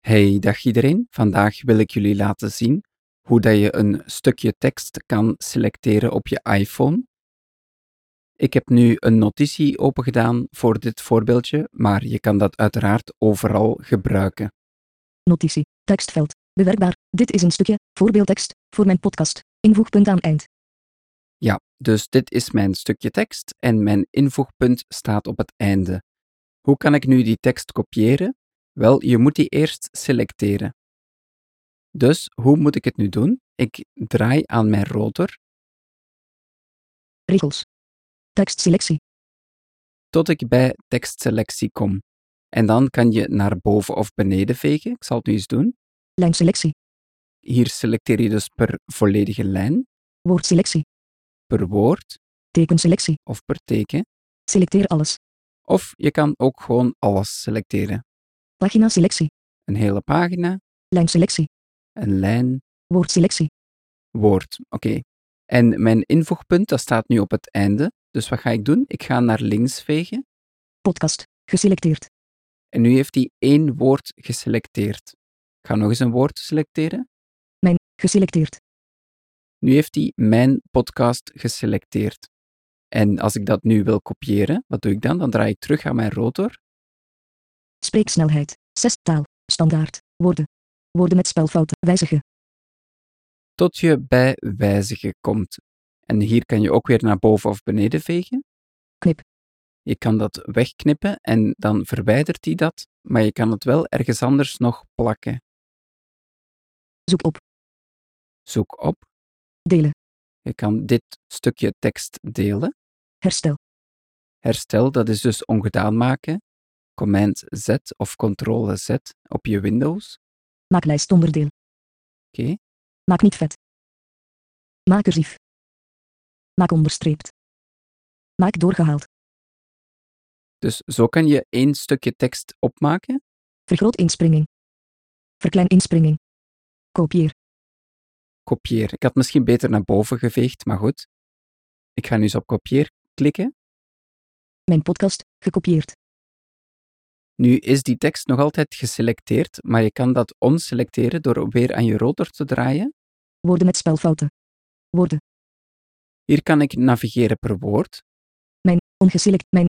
Hey, dag iedereen. Vandaag wil ik jullie laten zien hoe dat je een stukje tekst kan selecteren op je iPhone. Ik heb nu een notitie opengedaan voor dit voorbeeldje, maar je kan dat uiteraard overal gebruiken. Notitie. Tekstveld. Bewerkbaar. Dit is een stukje voorbeeldtekst voor mijn podcast. Invoegpunt aan eind. Ja, dus dit is mijn stukje tekst en mijn invoegpunt staat op het einde. Hoe kan ik nu die tekst kopiëren? Wel, je moet die eerst selecteren. Dus hoe moet ik het nu doen? Ik draai aan mijn rotor Regels. Tekstselectie. tot ik bij tekstselectie kom. En dan kan je naar boven of beneden vegen. Ik zal het nu eens doen. Lijnselectie. Hier selecteer je dus per volledige lijn, Woordselectie. per woord Tekenselectie. of per teken. Selecteer alles. Of je kan ook gewoon alles selecteren. Paginaselectie. Een hele pagina, Lijnselectie. een lijn, Woordselectie. woord. Oké. En mijn invoegpunt, dat staat nu op het einde. Dus wat ga ik doen? Ik ga naar links vegen. Podcast. Geselecteerd. En nu heeft hij één woord geselecteerd. Ik ga nog eens een woord selecteren. Mijn. Geselecteerd. Nu heeft hij mijn podcast geselecteerd. En als ik dat nu wil kopiëren, wat doe ik dan? Dan draai ik terug aan mijn rotor. Spreeksnelheid. 6. Taal. Standaard. Woorden. Woorden met spelfouten. Wijzigen. tot je bij wijzigen komt. En hier kan je ook weer naar boven of beneden vegen. Knip. Je kan dat wegknippen en dan verwijdert hij dat, maar je kan het wel ergens anders nog plakken. Zoek op. Zoek op. Delen. Je kan dit stukje tekst delen. Herstel. Herstel, dat is dus ongedaan maken. Command Z of Ctrl Z op je Windows. Maak lijst onderdeel. Oké. Maak niet vet. Maak cursief. Maak onderstreept. Maak doorgehaald. Dus zo kan je één stukje tekst opmaken. Vergroot inspringing. Verklein inspringing. Kopieer. Kopieer. Ik had misschien beter naar boven geveegd, maar goed. Ik ga nu eens op kopieer klikken. Mijn podcast, gekopieerd. Nu is die tekst nog altijd geselecteerd, maar je kan dat onselecteren door weer aan je rotor te draaien. Woorden met spelfouten. Woorden, Hier kan ik navigeren per woord. mijn, ongeselect, mijn.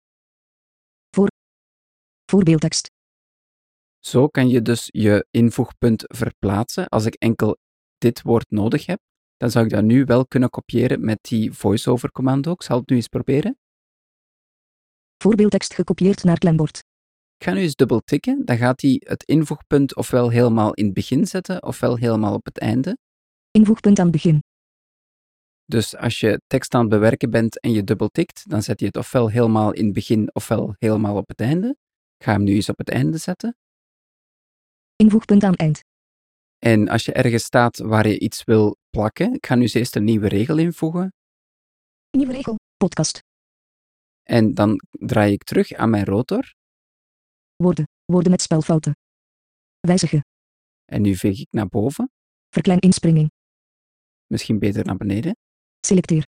Voor. Voorbeeldtekst. Zo kan je dus je invoegpunt verplaatsen. Als ik enkel dit woord nodig heb, dan zou ik dat nu wel kunnen kopiëren met die voiceover commando. Ik zal het nu eens proberen. Voorbeeldtekst gekopieerd naar klembord. Ik ga nu eens dubbel tikken, dan gaat hij het invoegpunt ofwel helemaal in het begin zetten, ofwel helemaal op het einde. Invoegpunt aan begin. Dus als je tekst aan het bewerken bent en je dubbeltikt, dan zet je het ofwel helemaal in het begin ofwel helemaal op het einde. Ik ga hem nu eens op het einde zetten. Invoegpunt aan eind. En als je ergens staat waar je iets wil plakken, ik ga nu eens eerst een nieuwe regel invoegen. Nieuwe regel. Podcast. En dan draai ik terug aan mijn rotor. Woorden. Woorden met spelfouten. Wijzigen. En nu veeg ik naar boven, Verklein inspringing. misschien beter naar beneden. Selecteer.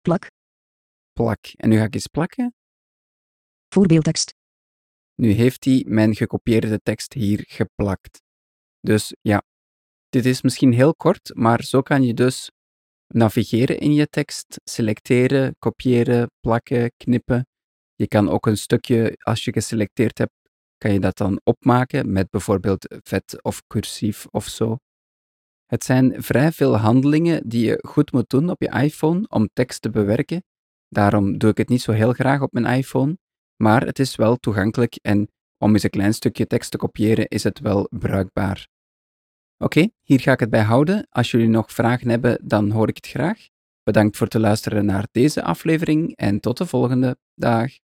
Plak. Plak. En nu ga ik eens plakken. Voorbeeldtekst. Nu heeft hij mijn gekopieerde tekst hier geplakt. Dus ja, dit is misschien heel kort, maar zo kan je dus navigeren in je tekst, selecteren, kopiëren, plakken, knippen. Je kan ook een stukje, als je geselecteerd hebt, kan je dat dan opmaken met bijvoorbeeld vet of cursief of zo. Het zijn vrij veel handelingen die je goed moet doen op je iPhone om tekst te bewerken. Daarom doe ik het niet zo heel graag op mijn iPhone maar het is wel toegankelijk en om eens een klein stukje tekst te kopiëren is het wel bruikbaar. Oké, hier ga ik het bij houden. Als jullie nog vragen hebben, dan hoor ik het graag. Bedankt voor het luisteren naar deze aflevering en tot de volgende. Dag.